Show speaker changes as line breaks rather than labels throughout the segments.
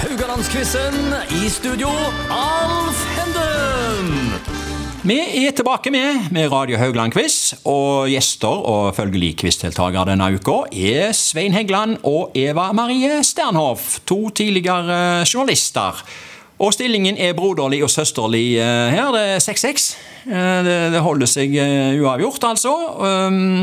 Haugalandsquizen. I studio, Alf Henden.
Vi er tilbake med, med Radio Haugland-quiz, og gjester og følgelig quizdeltakere denne uka er Svein Heggeland og Eva Marie Sternhoff, to tidligere journalister. Og stillingen er broderlig og søsterlig eh, her. Det er 6-6. Eh, Det, det holder seg eh, uavgjort, altså. Um,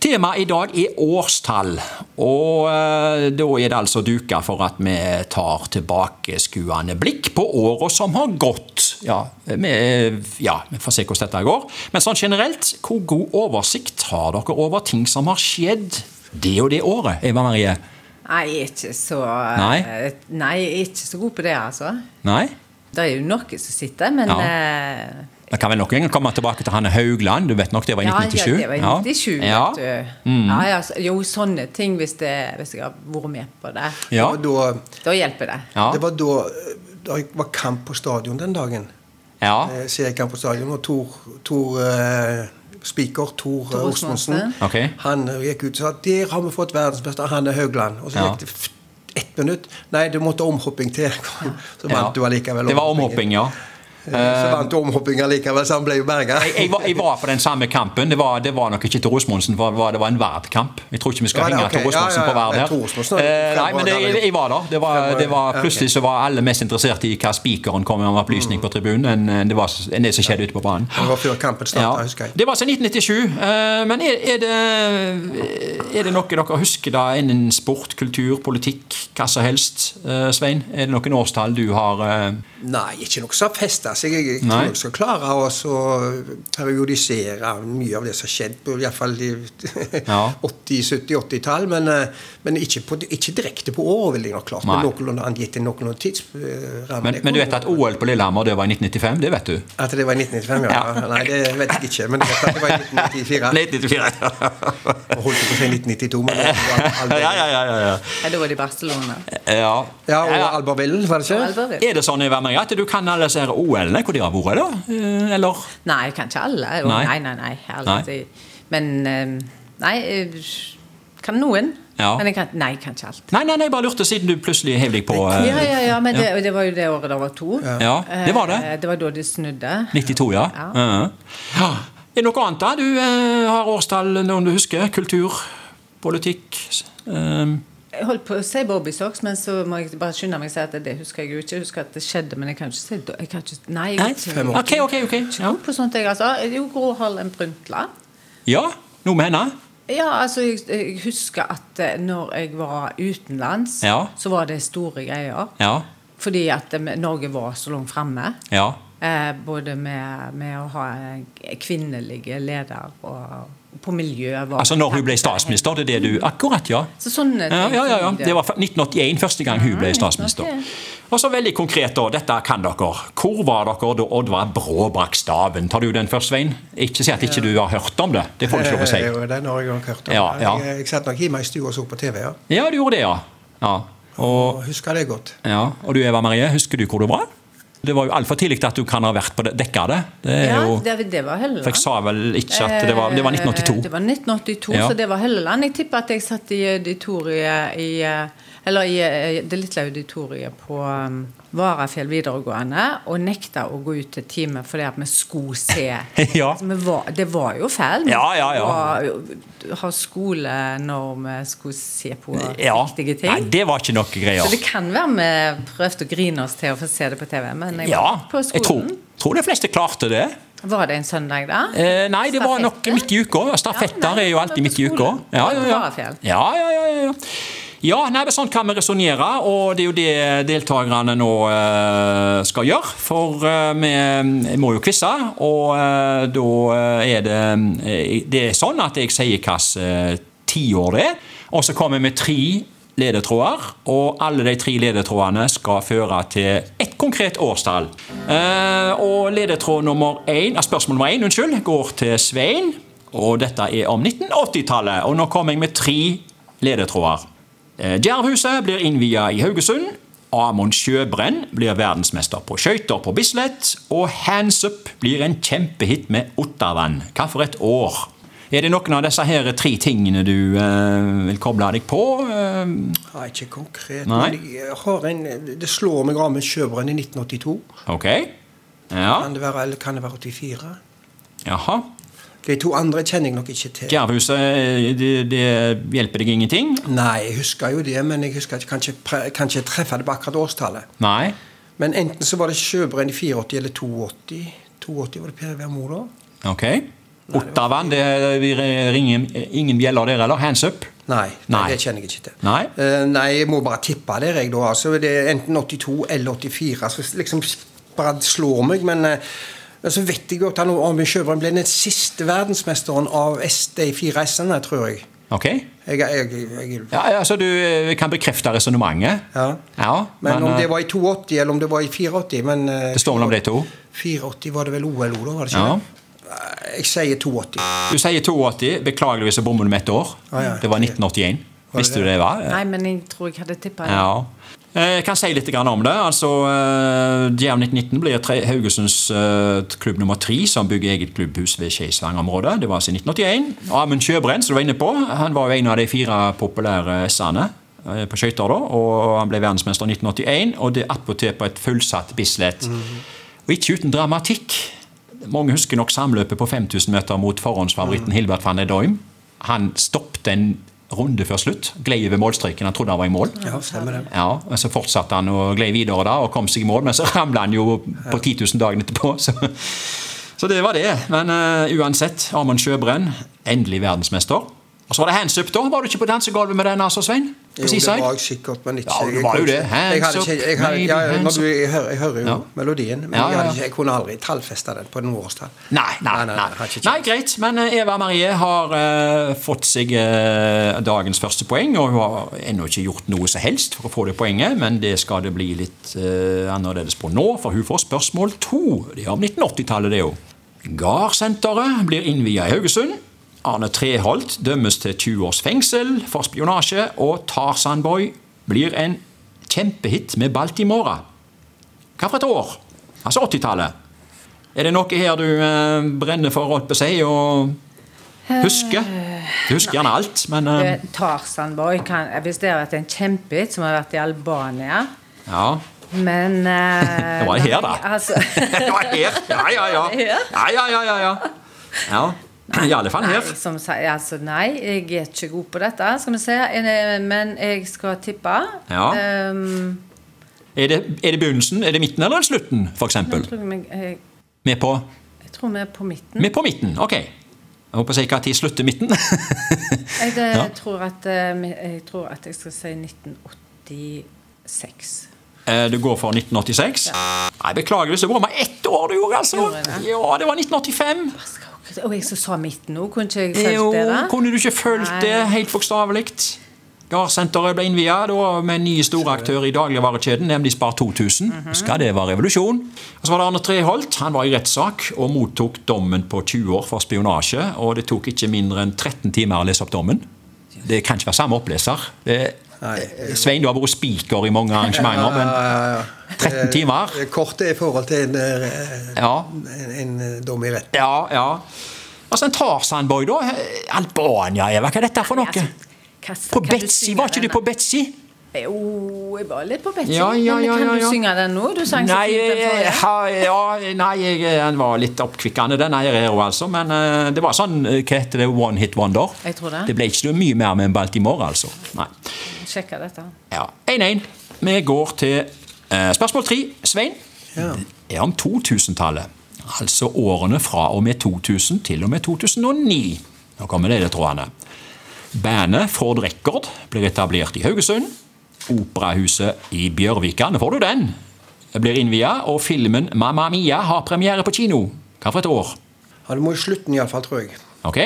Temaet i dag er årstall. Og eh, da er det altså duka for at vi tar tilbakeskuende blikk på åra som har gått. Ja, vi, ja, vi får se hvordan dette går. Men sånn generelt, hvor god oversikt har dere over ting som har skjedd det og det året? Eva Marie?
Nei, jeg er ikke så
Nei?
eh, Nei, jeg er ikke så god på det, altså.
Nei?
Det er jo noe som sitter, men
Ja.
eh,
Det kan vel noen gang komme tilbake til Hanne Haugland. Du vet nok det var i
ja,
1997?
Ja, det var i 97,
ja. Mm.
vet du. Ja, ja, så- jo, sånne ting, hvis, det, hvis jeg har vært med på det.
Ja.
Det var da,
Da hjelper det.
Ja.
det var da eh, da jeg var kamp på stadion den dagen.
ja.
Eh, Seriekamp på stadion, og Tor, Tor eh, Spiker, Tor eh,
Tor
Osmundsen,
Ok.
han eh, gikk ut og sa der har vi fått verdensmester, han er Haugland. Og så
Ja.
gikk det f- ett minutt. Nei, det måtte omhopping til. Så vant du allikevel.
Det var
omhoppingen.
omhopping, ja.
Eh, Så vant du omhopping allikevel, så han ble jo berga.
Jeg, jeg, var, jeg var på den samme kampen. Det var, det var nok ikke Tor Osmondsen, for det var, det var en verdkamp. Jeg tror ikke vi skal
Ja, det-
henge
ok.
Tor Osmondsen
Ja, ja,
på verd
ja.
her.
Tor Osmondsen er
Eh, nei, men det,
fremragende.
jeg, jeg var der. Det var, det var,
Fremragende.
plutselig så var alle mest interessert i hva spikeren kom med om opplysning på tribunen, enn enn det, var, enn det som skjedde ute på banen.
Mm. Det var før kampen starta, husker jeg.
Det var altså 1997. eh, Men er, er, det, er det noe dere husker da innen sport, kultur, politikk, hva som helst? eh, Svein, er det noen årstall du har eh,
Nei, ikke noe som har festa seg. Jeg, jeg
Nei.
tror jeg skal klare å så periodisere mye av det som har skjedd, på iallfall i
Ja.
80-, 70-, 80-tall. Men, eh, men ikke, på, ikke direkte på år, ville jeg nok klart.
Nei.
Men noenlunde angitt i noenlunde tidsramme.
men,
Det
men du
kunne-
vet at OL på Lillehammer det var i 1995? Det vet du.
At det var i 1995, ja.
Ja.
Nei, det vet jeg ikke. Men jeg vet at det var i 1994.
1994.
Jeg holdt på å si 1992, men det var Alba-
ja, ja, ja, ja, ja.
Ja, da var det i Barcelona.
ja.
Ja, og
Ja.
Albertville, var det ikke?
Alvorlig.
Er det sånn i Værmøy at du kan alle disse her OL-ene hvor de har vært, da? Eh, Eller?
Nei, jeg kan ikke alle. Å,
Nei.
Nei, nei, nei. alle.
Nei.
Det- Men eh, Nei, jeg kan noen.
Ja.
Men jeg kan, nei, jeg kan ikke alt.
Nei, nei, nei, bare lurte, siden du plutselig hev deg på eh,
Ja, ja, ja, men det, det var jo det året det var to.
Ja, det var det.
Eh, Det var da det snudde.
92, ja.
Ja.
Mhm. ja. Er det noe annet da? Du eh, har årstall, noen du husker? Kultur? Politikk? s- ehm,
Jeg holdt på å si Bobby Socks, men så må jeg bare skynde meg å si at det husker jeg jo ikke. Jeg husker at det skjedde, men jeg kan ikke si da- jeg kan ikke, Nei, jeg
Nei?
er ikke god
Ok, ok, ok. Ja.
på sånt, jeg, altså. Jo, Gro Harlem Brundtland.
ja, noe med henne?
Ja, altså, jeg, jeg husker at eh, når jeg var utenlands,
Ja.
så var det store greier.
Ja.
Fordi at eh, Norge var så langt fremme.
Ja.
Eh, både med, med å ha en kvinnelige leder og, og på miljø. var-
Altså når hun ble statsminister, det er det du Akkurat, ja.
Så sånne ting.
Ja, ja, ja, ja.
som
Det var f- 1981 første gang hun
Ah,
ble statsminister.
1981.
Og så veldig konkret, da. Dette kan dere. Hvor var dere da Oddvar Brå brakk staven? Tar du den først, Svein? Ikke si at ikke du har hørt om det. Det får du ikke lov å si.
Eh, jo, Den har jeg nok hørt om.
Ja, ja.
Jeg, jeg satt nok hjemme i stua og så på TV, ja.
Ja, du gjorde det, ja. ja. Og
Og husker det godt.
Ja, og du Eva Marie, husker du hvor du var? Det var jo altfor tidlig til at du kan ha vært på det, dekka det. Det er
Ja,
jo,
det, det var Helleland.
for jeg sa vel ikke at det var, det var
Eh, Det
1982.
var 1982,
Ja.
så det var Helleland. Jeg tipper at jeg satt i auditoriet i eh, Eller i eh, det lille auditoriet på um, Varafjell videregående og nekta å gå ut til time fordi at vi skulle se.
Ja.
Altså, vi var, det var jo feil. Vi
Ja, ja, ja.
var jo- Ha skole når vi skulle se på
Ja.
viktige ting.
Nei, det var ikke noe
Så
greier.
det kan være vi prøvde å grine oss til å få se det på TV, men jeg
Ja,
var på
jeg tror,
skolen
tror de fleste klarte det.
Var det en søndag, da?
Eh, nei, det var nok
Stafette?
midt i uka.
Ja,
Stafetter
nei,
er jo alltid midt i uka. Ja, ja, ja.
Varafjell.
Ja, ja, ja, ja, ja. ja nei, men sånn kan vi resonnere, og det er jo det deltakerne nå eh, skal gjøre. For eh, vi må jo quize, og eh, da er det eh, Det er sånn at jeg sier hvilket tiår det er, og så kommer vi med tre ledetråder, og alle de tre ledetrådene skal føre til ett konkret årstall. Eh, og ledetråd nummer én, eh, spørsmål nummer én unnskyld, går til Svein. Og dette er om 1980-tallet, og nå kommer jeg med tre ledetråder. Eh, Djervhuset blir innvia i Haugesund. Amund Sjøbrenn blir verdensmester på skøyter på Bislett. Og Hands Up blir en kjempehit med Ottavann. Hvilket år? Er det noen av disse her tre tingene du eh, vil koble deg på? Eh,
Ja, ikke konkret,
Nei.
men jeg har en, det slår meg av med Sjøbrønn i 1982.
ok. Ja.
Kan det være, eller kan det være 84?
Jaha.
De to andre kjenner jeg nok ikke til.
Gervhuset, eh, det, det hjelper deg ingenting?
Nei, jeg husker jo det, men jeg husker ikke, kan ikke, pre- kan ikke treffe det på akkurat årstallet.
Nei.
Men enten så var det Sjøbrønn i 84 eller 82. 82 var det Per Iver Moe da?
Ok. Ottavann, det vi ringer ingen bjeller der, eller? Hands up?
Nei,
Nei.
det kjenner jeg ikke til.
Nei.
Eh, nei, jeg må bare tippe der, jeg, da. Altså, det er enten 82 eller 84. Så liksom bare slår meg, men eh, så vet jeg jo at han Arnbjørn Sjøbrønn ble den siste verdensmesteren av S- de fire S-ene, tror jeg.
Ok.
jeg, jeg, jeg
Ja, altså Du eh, kan bekrefte resonnementet?
Ja.
ja.
men, om
eh,
det var i 82 eller om det var i 84 men, eh,
Det står mellom de to.
84 var det vel OL òg, da? var det ikke
Ja.
det? Eh, Jeg sier 82.
Du sier 82. Beklageligvis så bommer du med ett år.
Ja, ja.
Det var 1981.
det
Visste du det var?
Nei, men jeg tror jeg hadde tippa det.
Ja. Eh, Jeg kan si litt grann om det. Altså, eh, Djerv 1919 blir tre, Haugesunds eh, klubb nummer tre som bygger eget klubbhus ved Skeisvang-området. Det var altså i 1981. Amund Sjøbrenn, som du var inne på, han var jo en av de fire populære S-ene eh, på skøyter da, og han ble verdensmester i 1981, og det attpåtil på et fullsatt Bislett. Og ikke uten dramatikk. Mange husker nok samløpet på 5000 meter mot forhåndsfavoritten Hilbert van der Doim. Han stoppte en runde før slutt, gled over målstreken, han trodde han var i mål.
Ja, stemmer det.
Ja, og Så fortsatte han å glei videre da, og kom seg i mål, men så ramla han jo på 10 000 dagen etterpå. Så, så det var det. Men eh, uansett, Amund Sjøbrenn, endelig verdensmester. Og så var det hands up, da. Var du ikke på dansegulvet med den, altså, Svein? På
Jo, det
Seaside?
var jeg sikkert, men ikke
Ja, det
jeg
var jo
kunne
det.
ikke-
Hands
Jeg hadde ikke, jeg, hadde,
up,
ja,
baby,
når
hands
du, jeg, hører, jeg hører jo
Ja.
melodien, men
Ja, ja,
Jeg, hadde
ja.
ikke, jeg kunne aldri tallfeste den på noe årstall.
Nei, nei, nei.
jeg hadde ikke
nei, greit. Men eh, Eva Marie har eh, fått seg eh, dagens første poeng, og hun har ennå ikke gjort noe som helst for å få det poenget, men det skal det bli litt eh, annerledes på nå, for hun får spørsmål to. Det er om 1980-tallet, det òg. Gardsenteret blir innviet i Haugesund. Arne Treholt dømmes til 20 års fengsel for spionasje, og Tarzan Boy blir en kjempehit med Baltimora. Hva for et år? Altså 80-tallet. Er det noe her du eh, brenner for, holdt på å si, og husker? Du husker gjerne alt, men eh,
Eh, Tarzan Boy kan, Hvis det har vært en kjempehit som har vært i Albania
Ja.
Men eh,
Det var her, da.
nei, Altså,
Det var her! Ja, ja, ja. Ja, ja, ja, ja. ja. ja. I alle fall her.
Nei, som, sier- altså, nei, jeg er ikke god på dette, skal vi se. Eh, Men jeg skal tippe.
Ja.
Ehm,
Er det, er det begynnelsen, er det midten eller slutten, for
jeg,
eksempel?
tror vi, jeg,
Med på,
jeg tror vi er på midten.
med på midten, ok. Jeg håper å si hva tid slutter midten.
Jeg, eh,
Ja.
tror at, eh, vi- jeg tror at jeg skal si 1986.
Eh, Du går for 1986. Nei, beklager, du så bomma ett år du gjorde, altså.
Gjorde jeg det?
Ja, det var 1985.
Hva skal jeg- Og jeg som sa midten nå, kunne ikke jeg
Jo,
fulgt det? da?
kunne du ikke fulgt
Nei.
det helt bokstavelig? Gardsenteret ble innvia med en ny storaktør i dagligvarekjeden, nemlig Spar 2000.
Mhm.
Skal det være revolusjon? Og så var det Arne Treholt. Han var i rettssak og mottok dommen på 20 år for spionasje. Og det tok ikke mindre enn 13 timer å lese opp dommen. Det kan ikke være samme oppleser. Det,
Nei.
Svein, du har vært spiker i mange arrangementer, men
Ja,
13 timer?
Eh, Kortet er i forhold til en, eh,
Ja.
en, en eh, dom i retten.
Ja, ja. Altså en Tarzan-boy, da. Albania, Eva. Hva er dette for
Nei,
noe?
altså, hva-
På
kan du
Betzy,
synge
var ikke du
den,
på
da?
Betzy?
Jo, jeg var litt på Betzy.
Ja, ja,
men
ja,
kan
ja,
du
ja.
synge den nå? Du sang så
Nei,
fint den
eh,
forrige.
ha, ja, nei jeg, eh, han var litt oppkvikkende, den her her også, altså. Men eh, det var sånn eh, Hva heter det? One hit wonder?
Jeg tror det.
Det ble ikke så mye mer med en Baltimore, altså. Nei.
Sjekke dette.
Ja, 1-1. Vi går til eh, spørsmål tre. Svein.
Ja.
Det er om 2000-tallet. Altså årene fra og med 2000 til og med 2009. Nå kommer det, det trådene. Bandet Ford Record blir etablert i Haugesund. Operahuset i Bjørvika, nå får du den, blir innvia, og filmen Mamma Mia har premiere på kino. Hva for et år?
Ja, det må i slutten iallfall, tror jeg.
Ok,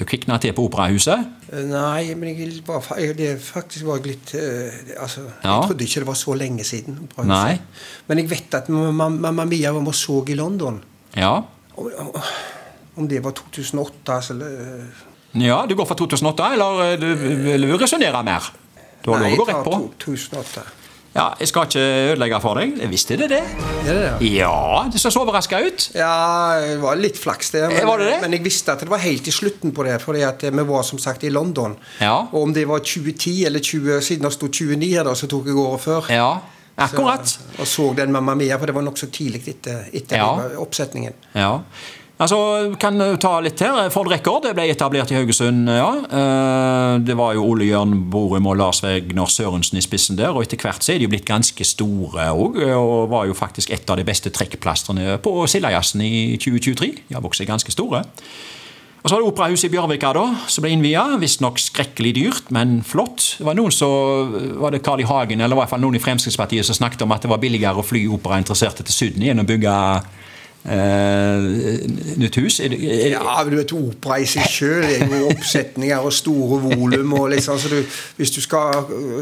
du kvikna til på Operahuset.
Eh, Nei, men jeg var fa- jeg, det faktisk var jeg litt eh, altså,
Ja.
Jeg trodde ikke det var så lenge siden. Operahuset.
Nei.
Men jeg vet at Mamma Mamma Mia var med og så i London.
Ja.
Om, om, om det var 2008 altså, eller,
ja, du går eh, for 2008, eller eh, du vil resonnere mer? Du har
Nei,
lov å
jeg
gå rett
tar
på.
2008.
Ja, Jeg skal ikke ødelegge for deg. Visst er det det.
Er det det?
Ja, du ser så overraska ut.
Ja, det var litt flaks, det.
Eh, var det det?
men jeg visste at det var helt i slutten på det. fordi at eh, vi var som sagt i London.
Ja.
Og om det var 2010 eller 20, siden det sto 29 her, da, så tok jeg året før.
Ja, akkurat.
Så, og så den Mamma Mia, for det var nokså tidlig etter, etter
Ja.
det var oppsetningen.
Ja. Altså, kan du ta litt her. Ford Rekord det ble etablert i Haugesund. ja. Eh, Det var jo Ole Jørn Borum og Lars Vegner Sørensen i spissen der. Og etter hvert så er de jo blitt ganske store òg, og var jo faktisk et av de beste trekkplastrene på Sildajazzen i 2023. De har vokst seg ganske store. Og så var det operahuset i Bjørvika da, som ble innvia. Visstnok skrekkelig dyrt, men flott. Det var noen som, var det Carl I. Hagen eller i hvert fall noen i Fremskrittspartiet som snakket om at det var billigere å fly operainteresserte til Syden igjen og bygge eh, nytt hus? Er det, er,
Ja, men du vet, opera i seg sjøl er jo oppsetninger og store volum. Og liksom, så du, hvis du skal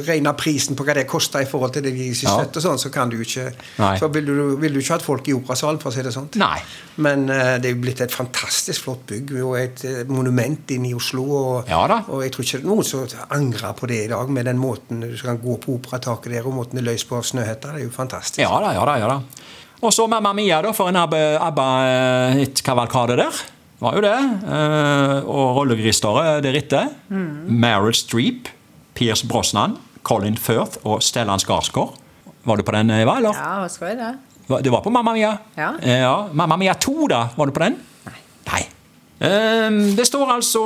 regne prisen på hva det koster i forhold til det de
Ja.
sysselsetter, og sånn, så kan du ikke
Nei.
Så vil du, vil du ikke ha hatt folk i operasalen, for å si det sånn.
Nei.
Men eh, det er jo blitt et fantastisk flott bygg og et eh, monument inne i Oslo. Og,
Ja da.
og jeg tror ikke det er noen som angrer på det i dag, med den måten du kan gå på operataket der, og måten det er løst på av Snøhetta. Det er jo fantastisk.
Ja da, ja da. ja da. Og så Mamma Mia, da, for en ABBA-hit-kavalkade der. Var jo det. Eh, Og rollegristeret deretter. Meryl Streep, Pierce Brosnan, Colin Firth og Stellan Skarsgård. Var du på den, Eva? eller?
Ja, hva skal jeg det?
Hva- Du var på Mamma Mia?
Ja.
Eh, ja. Mamma Mia 2, da. Var du på den? Nei. Ehm, det står altså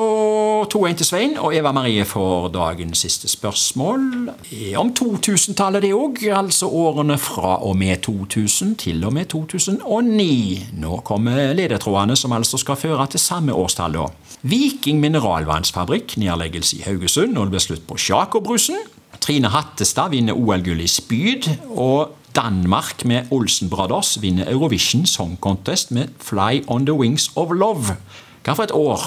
2-1 til Svein, og Eva Marie får dagens siste spørsmål. Eh, Om 2000-tallet, det òg. Altså årene fra og med 2000 til og med 2009. Nå kommer ledetrådene, som altså skal føre til samme årstall, da. Viking mineralvannsfabrikk, nedleggelse i Haugesund, og det blir slutt på Sjako-brusen. Trine Hattestad vinner OL-gull i spyd, og Danmark med Olsen Brothers vinner Eurovision Song Contest med Fly on the Wings of Love. Hva for et år?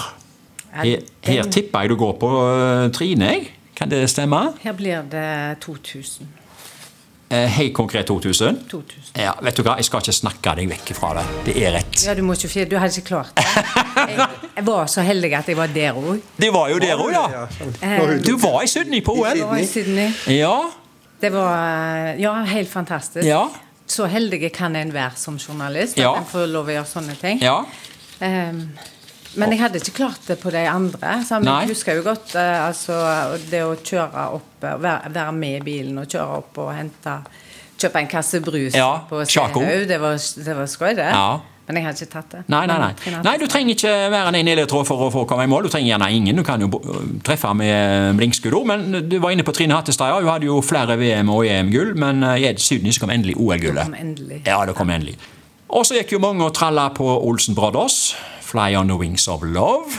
Her, her tipper jeg du går på øh, Trine, jeg. Kan det stemme?
Her blir det 2000.
Eh, Hei, Konkret 2000.
2000.
Ja, vet du hva, Jeg skal ikke snakke deg vekk fra det. Det er rett.
Ja, du må ikke fjerde. Du hadde ikke klart det. Jeg, jeg var så heldig at jeg var der òg.
Det var jo dere òg, ja.
Ja, sånn.
Du var i Sydney på OL.
Det var i Sydney.
Ja.
Det var eh, ja, helt fantastisk.
Ja.
Så heldige kan en være som journalist, at
Ja.
en får lov å gjøre sånne ting.
ja.
Ehm, men jeg hadde ikke klart det på de andre. Så men
Nei.
jeg husker jo godt eh, altså, det å kjøre opp, eh, være, være med i bilen og kjøre opp og hente Kjøpe en kasse brus
Ja,
på
Sjako.
Sehaug. Det var, det var skøy, det.
Ja.
Men jeg hadde ikke tatt det.
Nei, nei, nei.
Men-
nei, du trenger ikke være en ledetråd for å få komme i mål. Du trenger gjerne ingen. Du kan jo bo- treffe med blinkskudd også, Men du var inne på Trine Hattestad. ja. Hun hadde jo flere VM- og EM-gull, men eh, i Sydney så kom endelig
Det
OL-gullet.
kom endelig.
Ja, det kom endelig. Og så gikk jo mange og tralla på Olsen Brothers. Fly on the wings of love.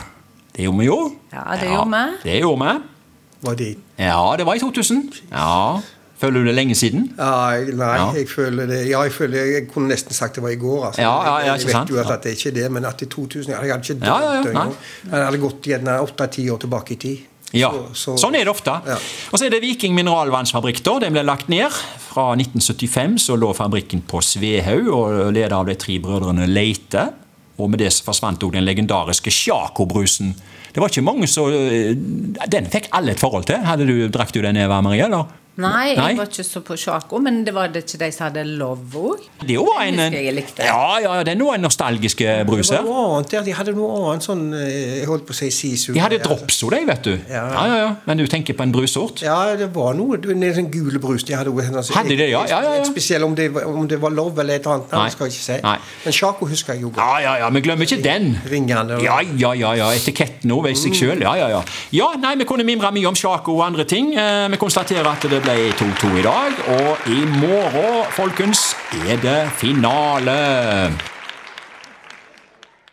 Det gjorde vi jo.
Ja, det gjorde vi.
Det gjorde vi.
Var det
Ja, det var i 2000. Ja. Føler du det lenge siden?
Ja, jeg- nei,
Ja.
jeg føler det Ja, jeg føler Jeg kunne nesten sagt det var i går. Altså.
Ja, ja, ja, ikke
jeg vet
sant?
jo at, at det ikke er det, men at i 2000 ja, Jeg hadde ikke
Ja, ja, ja,
dømt
nei.
engang. Jeg hadde gått gjerne åtte-ti år tilbake i tid.
Ja,
Så- så-
sånn er det ofte.
Ja.
Og så er det Viking mineralvannsfabrikk. da, Den ble lagt ned. Fra 1975 så lå fabrikken på Svehaug og ledet av de tre brødrene Leite. Og med det så forsvant òg den legendariske Sjako-brusen. Det var ikke mange som eh, Den fikk alle et forhold til. Hadde du, Drakk du den, Eva Marie? eller?
Nei, jeg var ikke så på Sjako, men det var det ikke de som hadde lov òg?
Det jo var en,
Den husker jeg likte.
ja, ja, den var en nostalgisk eh, brus
Det
her.
var noe annet der. De hadde noe annet sånn eh, Jeg holdt på å si sisu.
De hadde dropso, de, vet du.
Ja.
Ja, ja, ja. Men du tenker på en brusort?
Ja, det var noe du, en sånn gule brus de hadde. Altså,
Hadde de det? Ja, ja, ja, ja.
Et Spesielt om det, var- om det var love eller et eller annet. Nei,
Nei.
det skal jeg ikke si.
Nei.
Men Sjako husker jeg jo godt.
Ja, ja, ja, vi glemmer ikke den.
Ringende og-
Ja, ja, ja, ja. etiketten òg, veit seg sjøl. Ja, ja, ja. ja, nei, vi kunne mimre mye om Sjako og andre ting. Eh, Vi konstaterer at det ble 2-2 i dag, og i morgen, folkens, er det finale.